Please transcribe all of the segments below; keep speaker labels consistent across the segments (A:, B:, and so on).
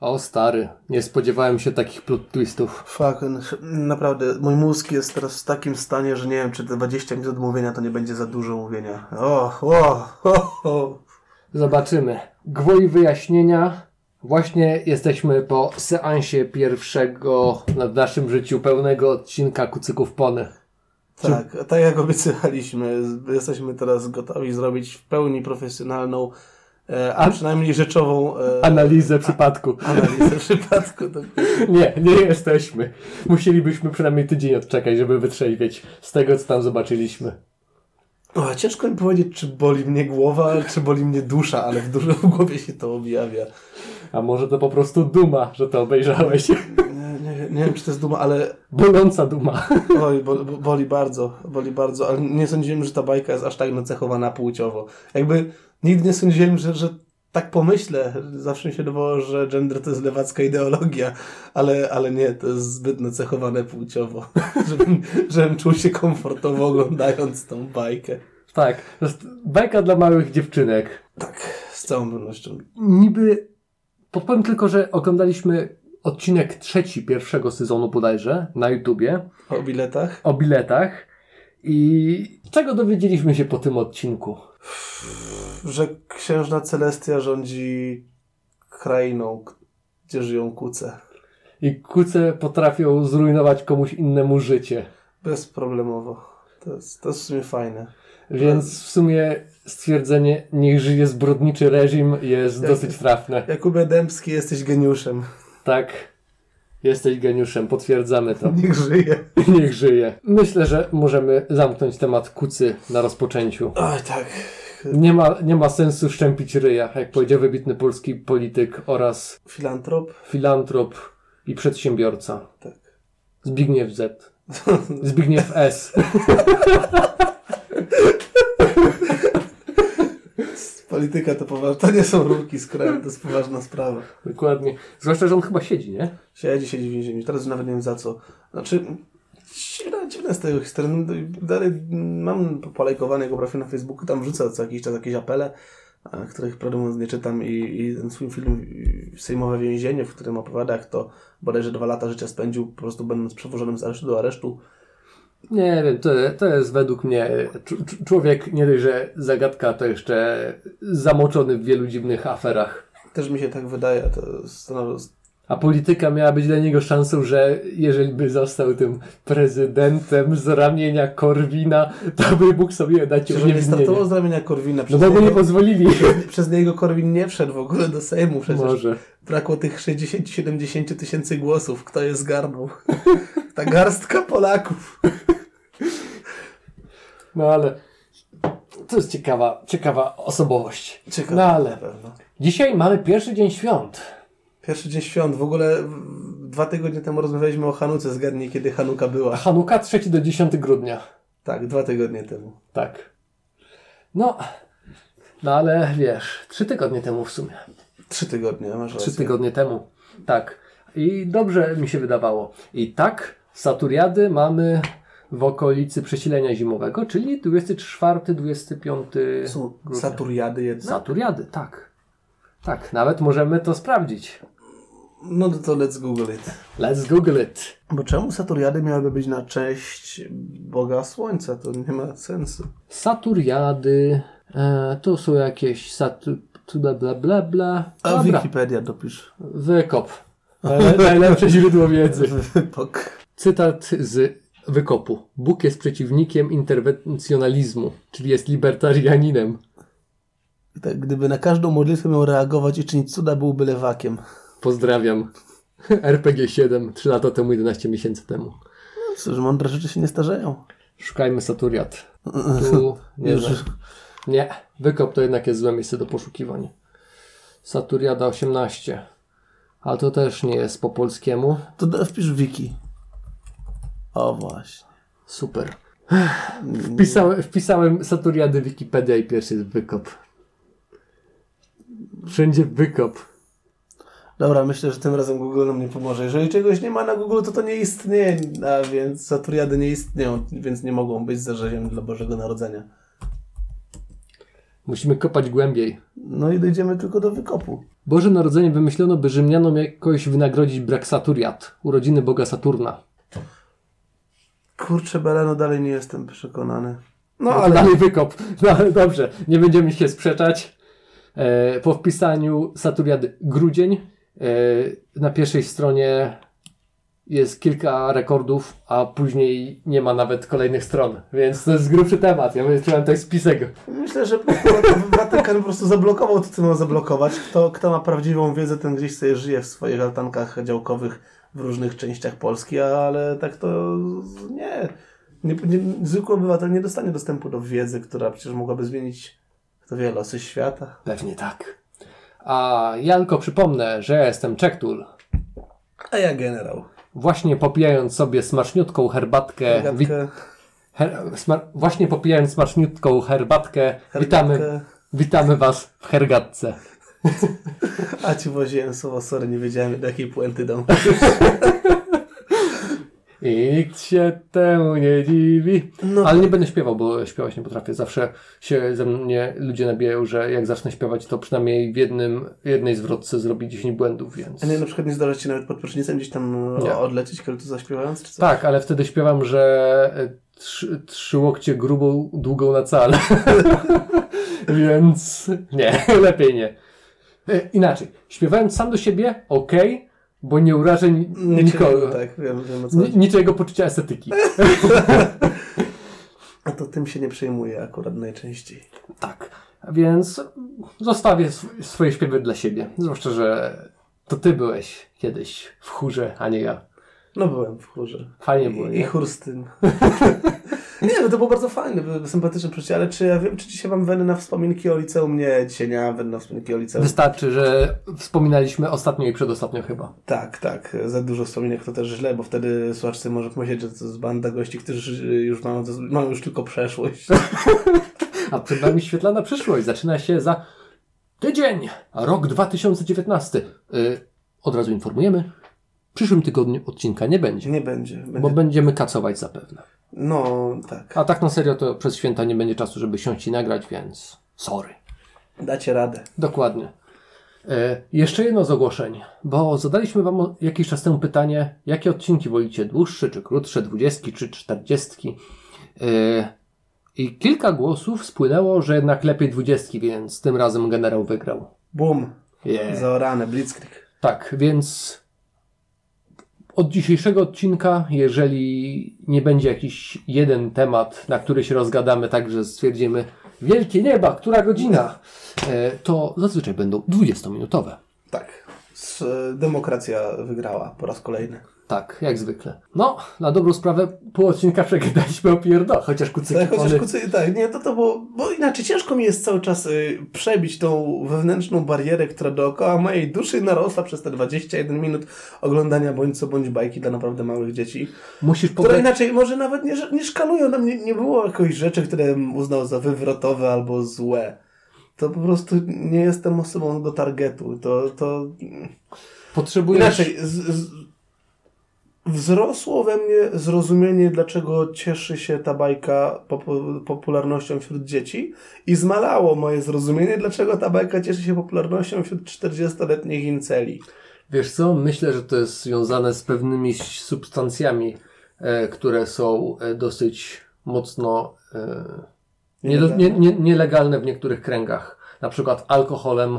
A: O stary, nie spodziewałem się takich plot twistów.
B: Fuck, n- naprawdę, mój mózg jest teraz w takim stanie, że nie wiem, czy te 20 minut mówienia to nie będzie za dużo mówienia. O, o, o, o.
A: Zobaczymy. Gwoli wyjaśnienia. Właśnie jesteśmy po seansie pierwszego w naszym życiu pełnego odcinka Kucyków Pony.
B: Tak, tak jak obiecywaliśmy, z- jesteśmy teraz gotowi zrobić w pełni profesjonalną, e, a przynajmniej rzeczową e,
A: Analizę przypadku.
B: analizę przypadku. To,
A: Nie, nie jesteśmy. Musielibyśmy przynajmniej tydzień odczekać, żeby wytrzeźwieć z tego, co tam zobaczyliśmy.
B: o, ciężko mi powiedzieć, czy boli mnie głowa, czy boli mnie dusza, ale w, dużo, w głowie się to objawia.
A: A może to po prostu duma, że to obejrzałeś.
B: Nie, nie, nie wiem, czy to jest duma, ale
A: Boląca duma.
B: Oj, bo, bo- boli bardzo, boli bardzo, ale nie sądziłem, że ta bajka jest aż tak nacechowana płciowo. Jakby nigdy nie sądziłem, że, że tak pomyślę. Zawsze mi się wydawało, że gender to jest lewacka ideologia, ale, ale nie, to jest zbyt nacechowane płciowo, żebym, żebym czuł się komfortowo oglądając tą bajkę.
A: Tak, to jest bajka dla małych dziewczynek.
B: Tak, z całą pewnością.
A: niby. Podpowiem tylko, że oglądaliśmy odcinek trzeci pierwszego sezonu bodajże na YouTubie
B: O biletach?
A: o biletach. I czego dowiedzieliśmy się po tym odcinku?
B: Że księżna Celestia rządzi krainą, gdzie żyją kuce.
A: I kuce potrafią zrujnować komuś innemu życie.
B: Bezproblemowo. To jest, to jest w sumie fajne.
A: Więc w sumie stwierdzenie niech żyje zbrodniczy reżim jest dosyć trafne.
B: Jakubie Dębski, jesteś geniuszem.
A: Tak. Jesteś geniuszem, potwierdzamy to.
B: Niech żyje.
A: Niech żyje. Myślę, że możemy zamknąć temat kucy na rozpoczęciu.
B: Oj, tak.
A: Nie ma, nie ma sensu szczępić ryja, jak powiedział wybitny polski polityk oraz
B: Filantrop?
A: filantrop i przedsiębiorca.
B: Tak.
A: Zbigniew Z. Zbigniew S.
B: Polityka to poważna. To nie są rurki z krem, to jest poważna sprawa.
A: Dokładnie. Zwłaszcza, że on chyba siedzi, nie?
B: Siedzi, siedzi w więzieniu. Teraz nawet nie wiem za co. Znaczy, dziwna, dziwna z tego historia. No, Dalej mam polajkowane jego profil na Facebooku, tam wrzucę co jakiś czas jakieś apele, a, których prawdę mówiąc nie czytam i, i ten swój film i, Sejmowe Więzienie, w którym opowiada, jak to bodajże dwa lata życia spędził po prostu będąc przewożonym z aresztu do aresztu.
A: Nie wiem, to, to jest według mnie czu- czu- człowiek nie dość, że zagadka, to jeszcze zamoczony w wielu dziwnych aferach.
B: Też mi się tak wydaje, to stanowi...
A: A polityka miała być dla niego szansą, że jeżeli by został tym prezydentem z ramienia Korwina, to by mógł sobie dać
B: Przecież on nie
A: uniewinnienie.
B: startował z ramienia Korwina.
A: No
B: Przez,
A: bo mu nie
B: niego,
A: pozwolili.
B: przez niego Korwin nie wszedł w ogóle do Sejmu. Przecież
A: Może.
B: brakło tych 60-70 tysięcy głosów. Kto je zgarnął? Ta garstka Polaków.
A: No ale to jest ciekawa, ciekawa osobowość.
B: Ciekawe.
A: No ale-
B: na pewno.
A: Dzisiaj mamy pierwszy dzień świąt.
B: Pierwszy dzień świąt. W ogóle w- dwa tygodnie temu rozmawialiśmy o Hanuce. Zgadnij, kiedy Hanuka była.
A: Hanuka 3 do 10 grudnia.
B: Tak, dwa tygodnie temu.
A: Tak. No, no ale wiesz, trzy tygodnie temu w sumie.
B: Trzy tygodnie, masz
A: Trzy
B: rację.
A: tygodnie temu. Tak. I dobrze mi się wydawało. I tak, Saturiady mamy w okolicy przesilenia zimowego, czyli 24-25
B: Są
A: grudnia.
B: Saturiady jednak.
A: No. Saturiady, tak. Tak, nawet możemy to sprawdzić.
B: No to let's google it.
A: Let's google it.
B: Bo czemu Saturiady miałyby być na cześć Boga Słońca? To nie ma sensu.
A: Saturiady, e, tu są jakieś satu, tu bla bla bla bla.
B: A
A: Dobra,
B: Wikipedia dopisz.
A: wykop. E, Najlepsze źródło wiedzy.
B: Pok.
A: Cytat z wykopu. Bóg jest przeciwnikiem interwencjonalizmu, czyli jest libertarianinem.
B: Tak, gdyby na każdą modlitwę miał reagować i czynić cuda, byłby lewakiem.
A: Pozdrawiam. RPG 7, 3 lata temu, 11 miesięcy temu.
B: No Cóż, mądre rzeczy się nie starzeją.
A: Szukajmy Saturiad. Tu nie,
B: E, Już.
A: znam. nie, wykop to jednak jest złe miejsce do poszukiwań. Saturiada 18. Ale to też nie jest po polskiemu.
B: To da- wpisz wiki. O właśnie.
A: Super. Wpisałem, wpisałem Saturiady Wikipedia i pierwszy jest wykop. Wszędzie wykop.
B: Dobra, myślę, że tym razem Google nam nie pomoże. Jeżeli czegoś nie ma na Google, to to nie istnieje, a więc Saturiady nie istnieją, więc nie mogą być zarzewiem dla Bożego Narodzenia.
A: Musimy kopać głębiej.
B: No i dojdziemy tylko do wykopu.
A: Boże Narodzenie wymyślono, by Rzymianom jakoś wynagrodzić brak Saturiat, urodziny boga Saturna.
B: Kurczę, Beleno, dalej nie jestem przekonany.
A: No, ale dalej wykop. No, ale dobrze, nie będziemy się sprzeczać. E, po wpisaniu Saturiad grudzień e, na pierwszej stronie jest kilka rekordów, a później nie ma nawet kolejnych stron, więc to jest grubszy temat. Ja będę czułem tak spisek.
B: Myślę, że po- po- Watykan po prostu zablokował to, co miał zablokować. Kto, kto ma prawdziwą wiedzę, ten gdzieś sobie żyje w swoich altankach działkowych w różnych częściach Polski, ale tak to z- nie. nie, nie zwykły obywatel nie dostanie dostępu do wiedzy, która przecież mogłaby zmienić kto wie, losy świata.
A: Pewnie tak. A ja tylko przypomnę, że ja jestem Czektul.
B: A ja generał.
A: Właśnie popijając sobie smaczniutką herbatkę. E, Wi-
B: Herbatkę,
A: her- sma- właśnie popijając smaczniutką herbatkę, witamy,
B: herbatkę.
A: witamy Was w hergatce.
B: A ci woziłem słowo, sorry, nie wiedziałem do jakiej puenty dam.
A: I nikt się temu nie dziwi.
B: No.
A: Ale nie będę śpiewał, bo śpiewać nie potrafię. Zawsze się ze mnie ludzie nabijają, że jak zacznę śpiewać, to przynajmniej w jednym, jednej zwrotce zrobi 10 błędów, więc.
B: A nie, na przykład nie zdarza ci nawet pod prysznicem gdzieś tam
A: Nie.
B: nie. odlecieć kolcu zaśpiewając, czy co?
A: Tak, ale wtedy śpiewam, że e, trzy, trzy łokcie grubą, długą na cal. Więc nie, lepiej nie. E, Inaczej, śpiewając sam do siebie, ok, bo nie urażę ni-
B: Nie
A: nikogo.
B: Tak, wiem, wiem o co
A: Ni- niczego poczucia estetyki.
B: A to tym się nie przejmuję akurat najczęściej.
A: Tak, więc zostawię sw- swoje śpiewy dla siebie. Zwłaszcza, że to ty byłeś kiedyś w chórze, a nie ja.
B: No byłem w chórze.
A: Fajnie było,
B: I, i
A: nie?
B: chór z tym. nie, no to było bardzo fajne, było sympatyczne przecież, ale czy ja wiem, czy dzisiaj mam weny na wspominki o liceum? Nie, dzisiaj nie mam weny na wspominki o liceum.
A: Wystarczy, że wspominaliśmy ostatnio i przedostatnio chyba.
B: Tak, tak, za dużo wspominek to też źle, bo wtedy słuchaczcy może pomyśleć, że to jest banda gości, którzy już mają, mają już tylko przeszłość.
A: A przed nami świetlana przyszłość. Zaczyna się za tydzień, a rok 2019. Yy, od razu informujemy, w przyszłym tygodniu odcinka nie będzie,
B: Nie będzie. będzie...
A: bo będziemy kacować zapewne.
B: No, tak.
A: A tak na serio to przez święta nie będzie czasu, żeby siąść i nagrać, więc sorry.
B: Dacie radę.
A: Dokładnie. E, jeszcze jedno z ogłoszeń, bo zadaliśmy Wam o- jakiś czas temu pytanie, jakie odcinki wolicie, dłuższe czy krótsze, dwudziestki czy czterdziestki. E, I kilka głosów spłynęło, że jednak lepiej dwudziestki, więc tym razem generał wygrał.
B: Bum.
A: Yeah.
B: Zaorane, blitzkrieg.
A: Tak, więc od dzisiejszego odcinka, jeżeli nie będzie jakiś jeden temat, na który się rozgadamy, tak że stwierdzimy wielkie nieba, która godzina, e, to zazwyczaj będą 20-minutowe.
B: Tak. S- Demokracja wygrała po raz kolejny.
A: Tak, jak zwykle. No, na dobrą sprawę pół odcinka przegadaliśmy o pierdo, chociaż kucyki
B: Tak, chociaż
A: pony-
B: kucy, tak, nie, to to było, bo inaczej ciężko mi jest cały czas y, przebić tą wewnętrzną barierę, która dookoła mojej duszy narosła przez te 21 minut oglądania bądź co bądź bajki dla naprawdę małych dzieci,
A: Musisz
B: które
A: pobrać...
B: inaczej może nawet nie, nie szkalują, nam nie, nie było jakichś rzeczy, które bym uznał za wywrotowe albo złe. To po prostu nie jestem osobą do targetu, to, to
A: Potrzebujesz...
B: Inaczej, z, z, wzrosło we mnie zrozumienie, dlaczego cieszy się ta bajka popu- popularnością wśród dzieci i zmalało moje zrozumienie, dlaczego ta bajka cieszy się popularnością wśród 40-letnich inceli.
A: Wiesz co, myślę, że to jest związane z pewnymi ś- substancjami, e, które są e, dosyć mocno e, nie, do- nie, nie, nielegalne w niektórych kręgach. Na przykład alkoholem,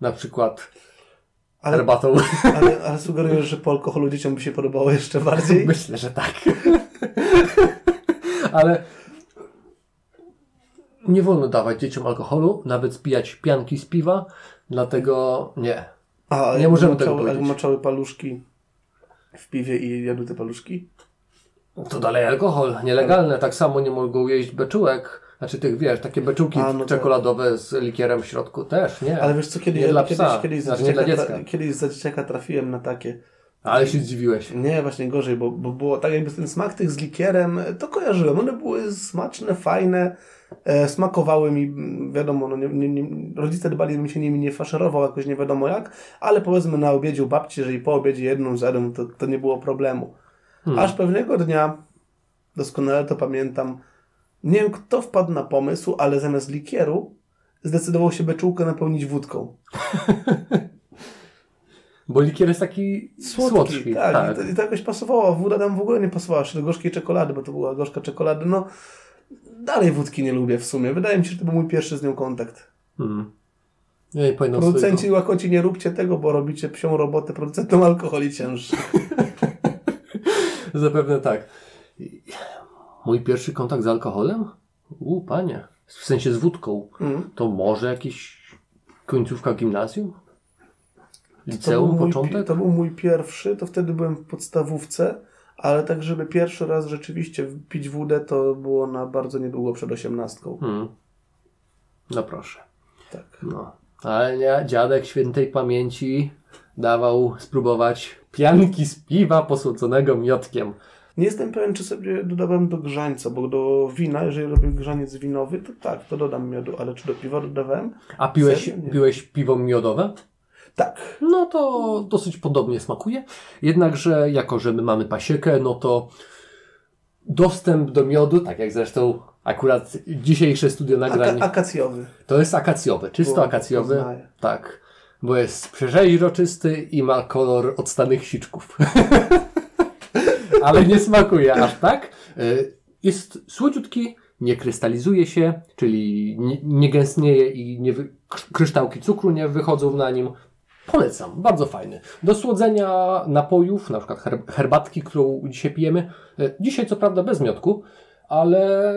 A: na przykład
B: Ale,
A: herbatą.
B: ale, ale sugerujesz, że po alkoholu dzieciom by się podobało jeszcze bardziej?
A: Myślę, że tak. Ale nie wolno dawać dzieciom alkoholu, nawet spijać pianki z piwa, dlatego nie.
B: A,
A: nie
B: jak
A: możemy
B: maczały-
A: tego powiedzieć.
B: Jak maczały paluszki w piwie i jadły te paluszki?
A: To dalej alkohol, nielegalne. Tak samo nie mogą jeść beczułek. Znaczy tych, wiesz, takie beczułki
B: A, no tak.
A: czekoladowe z likerem w środku też, nie.
B: Ale wiesz co, kiedy,
A: Tak. Nie dla
B: kiedyś,
A: psa,
B: kiedyś, za
A: znaczy nie dla
B: dzieciaka tra-
A: dziecka.
B: kiedyś za dzieciaka trafiłem na takie.
A: Ale się zdziwiłeś.
B: Nie, właśnie gorzej, bo, bo było tak jakby ten smak tych z likierem, e, to kojarzyłem. One były smaczne, fajne, e, smakowały mi, mm, wiadomo, no nie, nie, nie, rodzice dbali, bym się nimi nie faszerował jakoś nie wiadomo jak, ale powiedzmy na obiedzie u babci, jeżeli po obiedzie jedną zjadłem, to, to nie było problemu.
A: Hmm.
B: Aż pewnego dnia, doskonale to pamiętam, nie wiem kto wpadł na pomysł, ale zamiast likieru zdecydował się beczułkę napełnić wódką.
A: Bo likier jest taki słodki.
B: tak.
A: tak.
B: I, to, I to jakoś pasowało. Woda tam w ogóle nie pasowała jeszcze do gorzkiej czekolady, bo to była gorzka czekolada. No, dalej wódki nie lubię w sumie. Wydaje mi się, że to był mój pierwszy z nią kontakt.
A: Hmm. Ja nie pamiętam
B: Producenci
A: swojego.
B: łakoci, nie róbcie tego, bo robicie psią robotę producentom alkoholi cięższych.
A: Zapewne tak. Mój pierwszy kontakt z alkoholem? U, panie. W sensie z wódką.
B: Mm.
A: To może jakiś końcówka gimnazjum?
B: był
A: Liceum,
B: mój,
A: początek?
B: pi- To był mój pierwszy, to wtedy byłem w podstawówce, ale tak, żeby pierwszy raz rzeczywiście pić wódę, to było na bardzo niedługo przed osiemnastką.
A: Hmm. No proszę.
B: Tak.
A: No. Ale nie, dziadek świętej pamięci dawał spróbować pianki z piwa posłodzonego miodkiem.
B: Nie jestem pewien, czy sobie dodałem do grzańca, bo do wina, jeżeli robię grzaniec winowy, to tak, to dodam miodu, ale czy do piwa dodawałem?
A: A piłeś,
B: Serio? Nie.
A: piłeś piwo miodowe?
B: Tak.
A: No to dosyć podobnie smakuje. Jednakże, jako że my mamy pasiekę, no to dostęp do miodu, tak jak zresztą akurat dzisiejsze studio nagrań,
B: Aka- akacjowy.
A: to jest akacjowy, czysto
B: Bo-
A: akacjowy.
B: poznaję.
A: Tak, bo jest przeźroczysty i ma kolor odstanych siczków. Ale nie smakuje aż tak. Y, Jest słodziutki, nie krystalizuje się, czyli nie, nie gęstnieje i nie wy, krz- kryształki cukru nie wychodzą na nim. Polecam, bardzo fajny. Do słodzenia napojów, na przykład her, herbatki, którą dzisiaj pijemy. y, Dzisiaj co prawda bez miodku, ale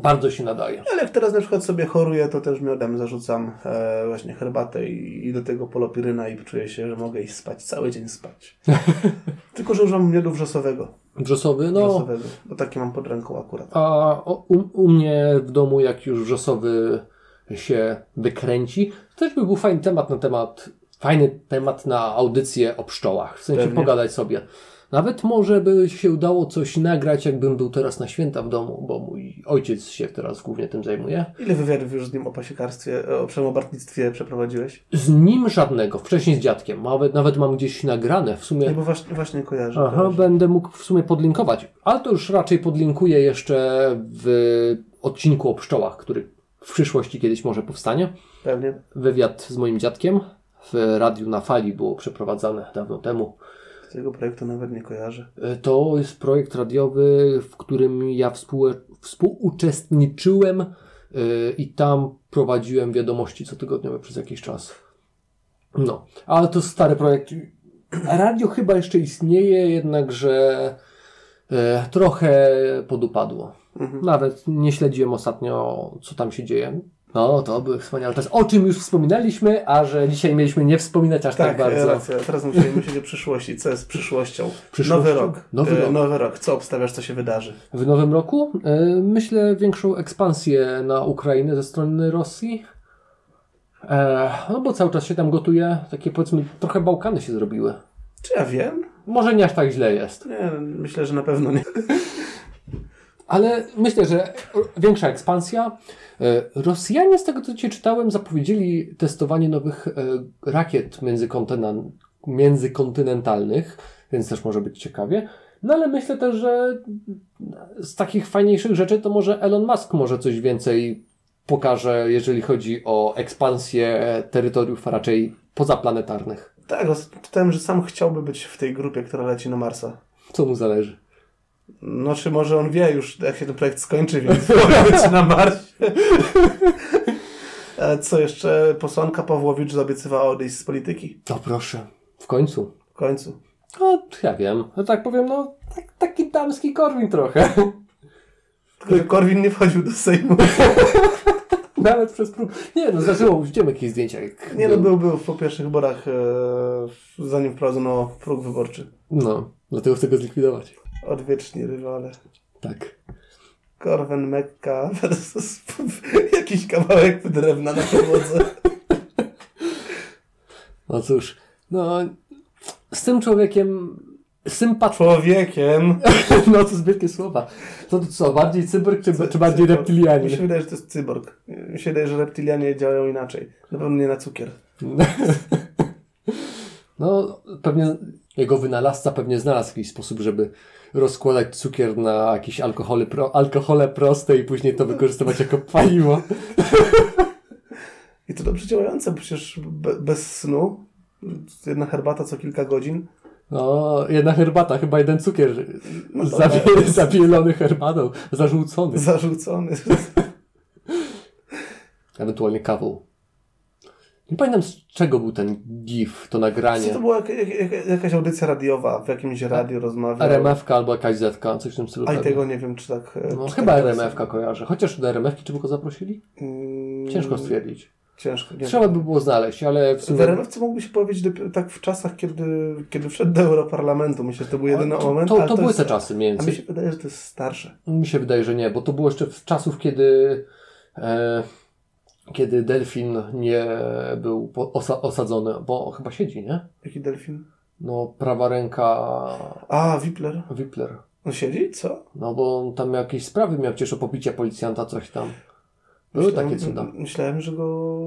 A: bardzo się nadaje.
B: No, Ale jak teraz na przykład sobie choruję, to też miodem zarzucam e, właśnie herbatę i, i do tego polopiryna i czuję się, że mogę iść spać, cały dzień spać. Tylko, że używam miodu wrzosowego.
A: Brzosowy, no...
B: wrzosowego, bo taki mam pod ręką akurat.
A: A o- u, u mnie w domu, jak już wrzosowy się wykręci, to też by był fajny temat na temat, fajny temat na audycję o pszczołach. W sensie
B: Pewnie.
A: pogadać sobie. Nawet może by się udało coś nagrać, jakbym był teraz na święta w domu, bo mój ojciec się teraz głównie tym zajmuje.
B: Ile wywiadów już z nim o pasiekarstwie, e, o przemobartnictwie przeprowadziłeś?
A: Z nim żadnego, wcześniej z dziadkiem. Nawet, nawet mam gdzieś nagrane w sumie.
B: Nie, No bo właśnie, właśnie kojarzę.
A: Aha,
B: kojarzę.
A: będę mógł w sumie podlinkować, ale to już raczej podlinkuję jeszcze w odcinku o pszczołach, który w przyszłości kiedyś może powstanie.
B: Pewnie.
A: Wywiad z moim dziadkiem w radiu na fali było przeprowadzane dawno temu.
B: Tego projektu nawet nie kojarzę.
A: E, To jest projekt radiowy, w którym ja współ, współuczestniczyłem e, i tam prowadziłem wiadomości cotygodniowe przez jakiś czas. No, ale to stary projekt. Radio chyba jeszcze istnieje, jednakże e, trochę podupadło.
B: Mhm.
A: Nawet nie śledziłem ostatnio, co tam się dzieje. No, to był wspaniały czas. O czym już wspominaliśmy, a że dzisiaj mieliśmy nie wspominać aż tak,
B: Tak, e,
A: bardzo.
B: racja. Teraz musimy myśleć o przyszłości. Co jest przyszłością?
A: Przyszłością?
B: Nowy rok.
A: Nowy
B: E,
A: rok.
B: Nowy rok. Co obstawiasz, co się wydarzy?
A: W nowym roku y, myślę większą ekspansję na Ukrainę ze strony Rosji. E, no bo cały czas się tam gotuje, takie powiedzmy, trochę Bałkany się zrobiły.
B: Czy ja wiem?
A: Może nie aż tak źle jest,
B: Nie, myślę, że na pewno nie.
A: ale myślę, że większa ekspansja. E, Rosjanie, z tego co cię czytałem, zapowiedzieli testowanie nowych e, rakiet międzykontynan- międzykontynentalnych, więc też może być ciekawie. No ale myślę też, że z takich fajniejszych rzeczy to może Elon Musk może coś więcej pokaże, jeżeli chodzi o ekspansję terytoriów, a raczej pozaplanetarnych.
B: Tak, czytałem, że sam chciałby być w tej grupie, która leci na Marsa.
A: Co mu zależy?
B: No, czy może on wie już, jak się ten projekt skończy, więc może być na Marsie. E, Co jeszcze? Posłanka Pawłowicz zabiecywała odejść z polityki.
A: No proszę, w końcu.
B: W końcu.
A: No, ja wiem, że tak powiem, no tak, taki damski korwin trochę.
B: Tylko, że Korwin nie wchodził do Sejmu.
A: Nawet przez próg. Nie, no zdarzyło, widziałem jakieś zdjęcia. Jak
B: Nie no, był, był po pierwszych wyborach, e, zanim wprowadzono próg wyborczy.
A: No, dlatego chcę go zlikwidować.
B: Odwieczni rywale.
A: Tak.
B: Korwen Mekka versus jakiś kawałek drewna na podłodze.
A: No cóż, no z tym człowiekiem sympatyczny.
B: Człowiekiem.
A: No to zbytkie słowa. To, to co, bardziej cyborg czy, czy bardziej
B: Cyborg. Mi się
A: reptilianin?
B: wydaje, że to jest cyborg. Mi się wydaje, że reptilianie działają inaczej. Na pewno nie na cukier.
A: No, pewnie jego wynalazca pewnie znalazł jakiś sposób, żeby rozkładać cukier na jakieś alkohole, pro, alkohole proste i później to wykorzystywać jako paliwo.
B: I to dobrze działające, bo przecież be, bez snu Jedna herbata co kilka godzin.
A: No, jedna herbata, chyba jeden cukier
B: No to
A: zawie-
B: jest.
A: zawielony herbatą, zarzucony.
B: Zarzucony.
A: Ewentualnie kawą. Nie pamiętam z czego był ten gif, to nagranie.
B: Co to była jak, jak, jak, jakaś audycja radiowa, w jakimś radiu rozmawiał.
A: RMF-ka albo jakaś zetka, coś w tym stylu.
B: A i
A: pewnie.
B: tego nie wiem, czy tak. e,
A: No,
B: czy
A: chyba
B: tak
A: RMF-ka kojarzę. Chociaż do RMF-ki czy by go zaprosili?
B: Mm,
A: Ciężko stwierdzić.
B: Ciężko. Nie
A: Trzeba by było znaleźć, ale w
B: W
A: sumie...
B: RMF-ce mógłby się powiedzieć dopiero tak w czasach, kiedy, kiedy wszedł do Europarlamentu. Myślę, że to był jedyny
A: to,
B: moment.
A: To,
B: ale
A: to, były
B: jest-
A: te czasy mniej
B: A mi
A: więcej.
B: się wydaje, że to jest starsze.
A: No, Mi się wydaje, że nie, bo to było jeszcze w czasów, kiedy, e, kiedy delfin nie był po, osa, osadzony, bo chyba siedzi, nie?
B: Jaki delfin?
A: No, prawa ręka
B: A, Wipler.
A: Wipler.
B: On siedzi? Co?
A: No, bo on tam jakieś sprawy miał, przecież o pobicie policjanta, coś tam. Były takie cuda.
B: Myślałem, że go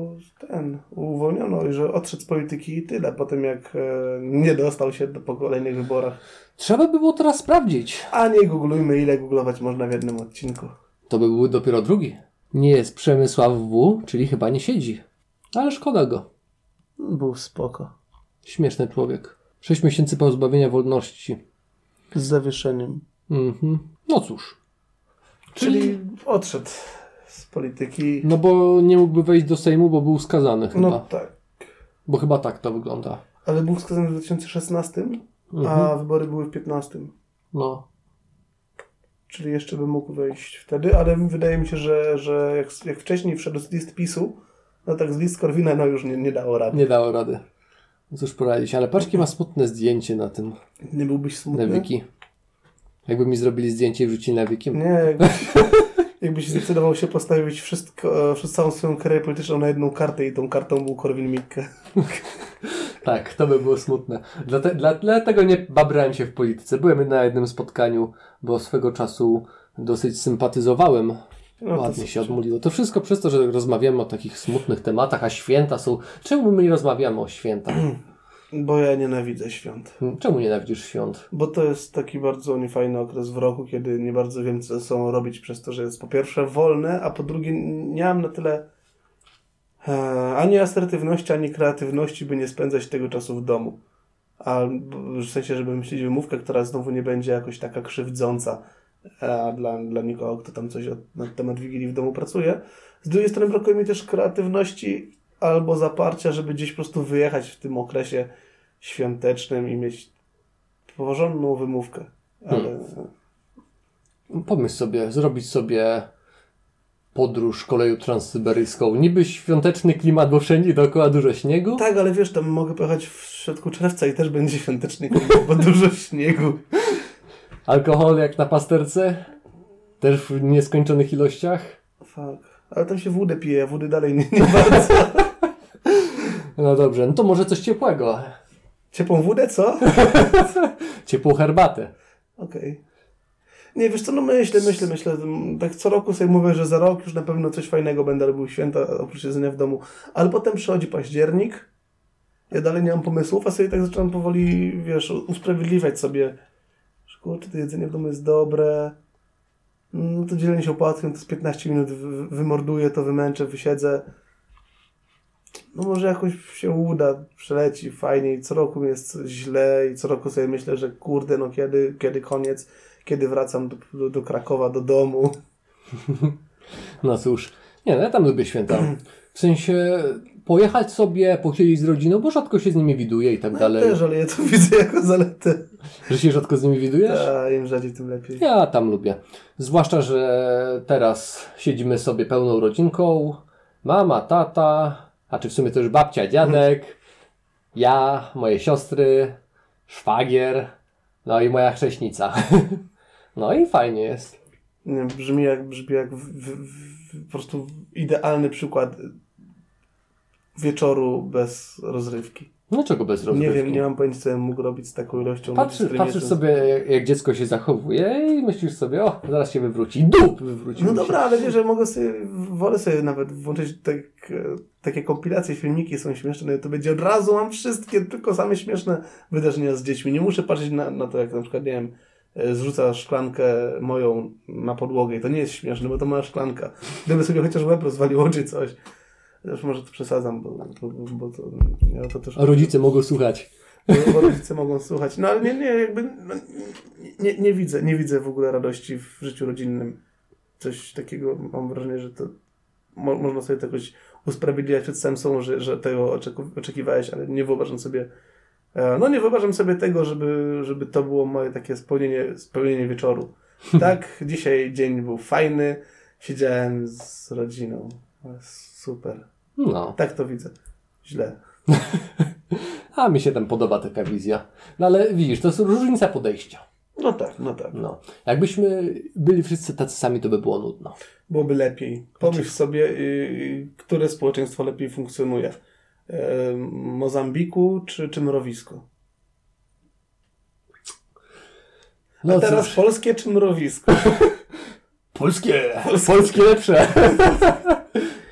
B: ten uwolniono i że odszedł z polityki i tyle. Po tym jak e, nie dostał się do, po kolejnych wyborach.
A: Trzeba by było teraz sprawdzić.
B: A nie googlujmy, ile googlować można w jednym odcinku.
A: To by był dopiero drugi. Nie jest Przemysław W, czyli chyba nie siedzi. Ale szkoda go.
B: Był spoko.
A: Śmieszny człowiek. Sześć miesięcy pozbawienia wolności.
B: Z zawieszeniem.
A: Mhm. No cóż.
B: Czyli odszedł z polityki.
A: No bo nie mógłby wejść do Sejmu, bo był skazany chyba.
B: No tak.
A: Bo chyba tak to wygląda.
B: Ale był skazany w 2016,
A: Mhm.
B: a wybory były w 15.
A: No.
B: Czyli jeszcze by mógł wejść wtedy, ale wydaje mi się, że, że jak, jak wcześniej wszedł z list PiSu, no tak z list Korwina no już nie, nie dało rady.
A: Nie dało rady. No Cóż poradzić, ale paczki ma smutne zdjęcie na tym,
B: Nie, byłbyś smutny?
A: na wiki. Jakby mi zrobili zdjęcie i wrzucili na wiki.
B: Nie, jakbyś, jakbyś zdecydował się postawić wszystko, e, przez całą swoją karierę polityczną na jedną kartę i tą kartą był Korwin Mikke.
A: Tak, to by było smutne. Dlate, dla, dlatego nie babrałem się w polityce. Byłem na jednym spotkaniu, bo swego czasu dosyć sympatyzowałem.
B: No to
A: Ładnie się
B: znaczy-
A: odmuliło. To wszystko przez to, że rozmawiamy o takich smutnych tematach, a święta są... Czemu my nie rozmawiamy o świętach?
B: Bo ja nienawidzę świąt.
A: Czemu nienawidzisz świąt?
B: Bo to jest taki bardzo niefajny okres w roku, kiedy nie bardzo wiem, co ze sobą robić, przez to, że jest po pierwsze wolne, a po drugie nie mam na tyle e, ani asertywności, ani kreatywności, by nie spędzać tego czasu w domu. A b- w sensie, żeby myśleć wymówkę, która znowu nie będzie jakoś taka krzywdząca e, dla, dla nikogo, kto tam coś od, na temat Wigilii w domu pracuje. Z drugiej strony brakuje mi też kreatywności albo zaparcia, żeby gdzieś po prostu wyjechać w tym okresie świątecznym i mieć porządną wymówkę. Ale
A: Pomyśl sobie, zrobić sobie podróż koleją transsyberyjską. Niby świąteczny klimat, bo wszędzie dookoła dużo śniegu.
B: tak, ale wiesz, tam mogę pojechać w środku czerwca i też będzie świątecznie, bo dużo śniegu.
A: Alkohol jak na pasterce, też w nieskończonych ilościach.
B: Fuck. Ale tam się wódę pije, a wody dalej nie, nie bardzo.
A: No dobrze, no to może coś ciepłego.
B: Ciepłą wódę, co?
A: Ciepłą herbatę.
B: Okej. Nie, wiesz co, no myślę, myślę, myślę. Tak co roku sobie mówię, że za rok już na pewno coś fajnego będę robił w święta, oprócz jedzenia w domu. Ale potem przychodzi październik, ja dalej nie mam pomysłów, a sobie tak zaczynam powoli, wiesz, usprawiedliwiać sobie, że kurczę, to jedzenie w domu jest dobre, no to dzielenie się opłatkiem, to z 15 minut wy- wymorduję, to wymęczę, wysiedzę. No może jakoś się uda, przeleci fajnie i co roku mi jest źle i co roku sobie myślę, że kurde, no kiedy, kiedy koniec, kiedy wracam do, do, do Krakowa, do domu.
A: No cóż, nie, no ja tam lubię święta. W sensie pojechać sobie, posiedzieć z rodziną, bo rzadko się z nimi widuje i tak
B: No
A: dalej.
B: ja też, ale ja to widzę jako zaletę.
A: Że się rzadko z nimi widujesz?
B: A, Im rzadziej, tym lepiej.
A: Ja tam lubię. Zwłaszcza, że teraz siedzimy sobie pełną rodzinką. Mama, tata, a czy w sumie to już babcia, dziadek,
B: Mhm.
A: ja, moje siostry, szwagier, no i moja chrześnica. No i fajnie jest.
B: Nie, wiem, brzmi jak, brzmi jak w, w, w, po prostu idealny przykład wieczoru bez rozrywki.
A: Dlaczego No bez rozrywki?
B: Nie wiem, nie mam pojęcia, co ja mógł robić z taką ilością ludzi, z
A: Patrzysz,
B: którymi
A: patrzysz
B: jestem.
A: sobie, jak- jak dziecko się zachowuje i myślisz sobie, o, zaraz się wywróci. Dup! Wywrócił
B: No
A: mi
B: dobra, ale wiesz, że mogę sobie, wolę sobie nawet włączyć tak, e, takie kompilacje, filmiki są śmieszne na YouTube, gdzie od razu mam wszystkie, tylko same śmieszne wydarzenia z dziećmi. Nie muszę patrzeć na, na to, jak na przykład, nie wiem, e, zrzuca szklankę moją na podłogę i to nie jest śmieszne, bo to moja szklanka. Gdyby sobie chociaż łeb rozwaliło czy coś. Zresztą może to przesadzam, bo, bo, bo to, ja to też...
A: A rodzice mogą słuchać.
B: Bo- bo rodzice mogą słuchać. No ale nie, nie, jakby no, nie, nie widzę, nie widzę w ogóle radości w życiu rodzinnym. Coś takiego, mam wrażenie, że to mo, można sobie to jakoś usprawiedliwiać przed samym sobą, że, że tego oczeku, oczekiwałeś, ale nie wyobrażam sobie, e, no nie wyobrażam sobie tego, żeby, żeby to było moje takie spełnienie, spełnienie wieczoru. Tak, dzisiaj dzień był fajny, siedziałem z rodziną. Super.
A: No.
B: Tak to widzę. Źle.
A: A mi się tam podoba taka wizja. No ale widzisz, to jest różnica podejścia.
B: No tak, no tak.
A: No. Jakbyśmy byli wszyscy tacy sami, to by było nudno.
B: byłoby lepiej. Pomyśl sobie, y, y, które społeczeństwo lepiej funkcjonuje. E, Mozambiku czy, czy mrowisko?
A: No
B: A teraz
A: cóż,
B: polskie czy mrowisko?
A: polskie! Polskie, lepsze!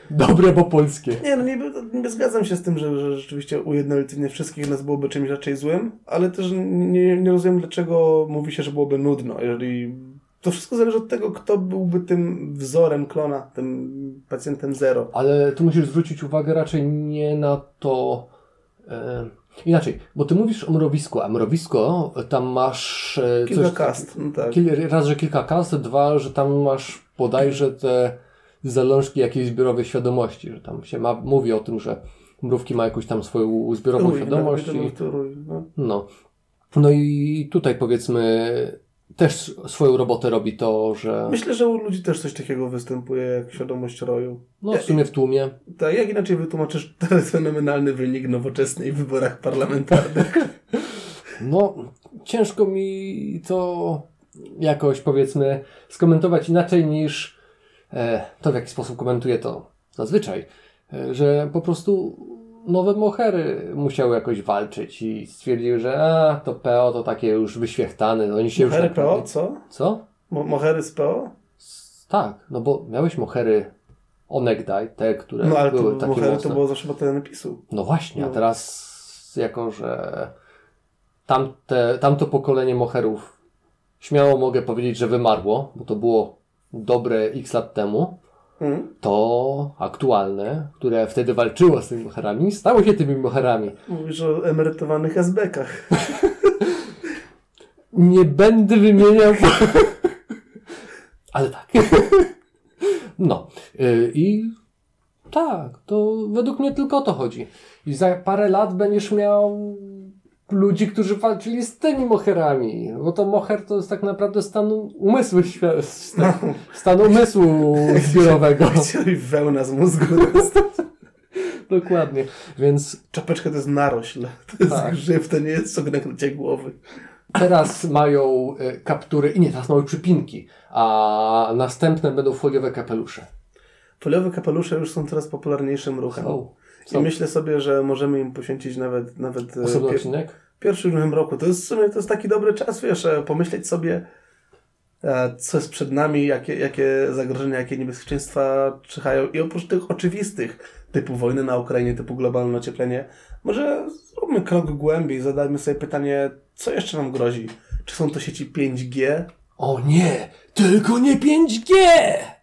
A: Dobre, bo polskie.
B: Nie, no niby, niby zgadzam się z tym, że, że rzeczywiście ujednolicenie wszystkich nas byłoby czymś raczej złym, ale też nie, nie rozumiem, dlaczego mówi się, że byłoby nudno, jeżeli... To wszystko zależy od tego, kto byłby tym wzorem klona, tym pacjentem zero.
A: Ale tu musisz zwrócić uwagę raczej nie na to. E, inaczej, bo ty mówisz o mrowisku, a mrowisko e, tam masz. E,
B: Kilka
A: coś-
B: kast, no tak.
A: Kil, raz, że kilka kas, dwa, że tam masz bodajże te zalążki jakiejś zbiorowej świadomości, że tam się ma, mówi o tym, że mrówki ma jakąś tam swoją zbiorową
B: Trój,
A: świadomość.
B: nawet
A: i,
B: jeden trój, no.
A: no. no i tutaj powiedzmy też swoją robotę robi to, że
B: Myślę, że u ludzi też coś takiego występuje, jak świadomość roju.
A: no w sumie w tłumie
B: Tak, jak inaczej wytłumaczysz ten fenomenalny wynik nowoczesnej w wyborach parlamentarnych?
A: No, ciężko mi to jakoś powiedzmy skomentować inaczej niż e, to, w jaki sposób komentuję to zazwyczaj, e, że po prostu nowe mohery musiały jakoś walczyć i stwierdziły, że a, to PO to takie już wyświechtane, no oni się
B: Mohery
A: już... tak-
B: PO, co?
A: Co?
B: Mo- Mohery z PO?
A: S- Tak, no bo miałeś mohery onegdaj, te, które
B: No ale
A: Tak, były
B: to,
A: takie
B: Mohery to
A: mocne.
B: było zawsze badane PiSu.
A: No właśnie, a
B: No.
A: teraz jako, że tamte, tamto pokolenie moherów śmiało mogę powiedzieć, że wymarło, bo to było dobre x lat temu,
B: Hmm?
A: to aktualne, które wtedy walczyło z tymi moherami, stało się tymi moherami.
B: Mówisz o emerytowanych azbekach.
A: Nie będę wymieniał. Ale tak. No. y, I tak, to według mnie tylko o to chodzi. I za parę lat będziesz miał ludzi, którzy walczyli z tymi moherami. Bo to moher to jest tak naprawdę stan umysłu, świ- stan, stan umysłu zbiorowego.
B: Chcieli wełna z mózgu.
A: Dokładnie. Więc
B: Czapeczka to jest narośl. To jest
A: Tak.
B: grzyb, to nie jest cukrek na cię głowy.
A: Teraz mają e, kaptury, i nie, teraz mają przypinki, a następne będą foliowe kapelusze.
B: Foliowe kapelusze już są coraz popularniejszym ruchem.
A: Są.
B: I
A: Są.
B: myślę sobie, że możemy im poświęcić nawet, nawet e,
A: Osobny
B: pier-
A: odcinek?
B: pierwszym nowym roku. To jest w sumie to jest taki dobry czas, wiesz, e, pomyśleć sobie, e, co jest przed nami, jakie, jakie zagrożenia, jakie niebezpieczeństwa czyhają. I oprócz tych oczywistych, typu wojny na Ukrainie, typu globalne ocieplenie, może zróbmy krok głębiej, zadajmy sobie pytanie, co jeszcze nam grozi? Czy są to sieci 5G?
A: O nie! Tylko nie 5G!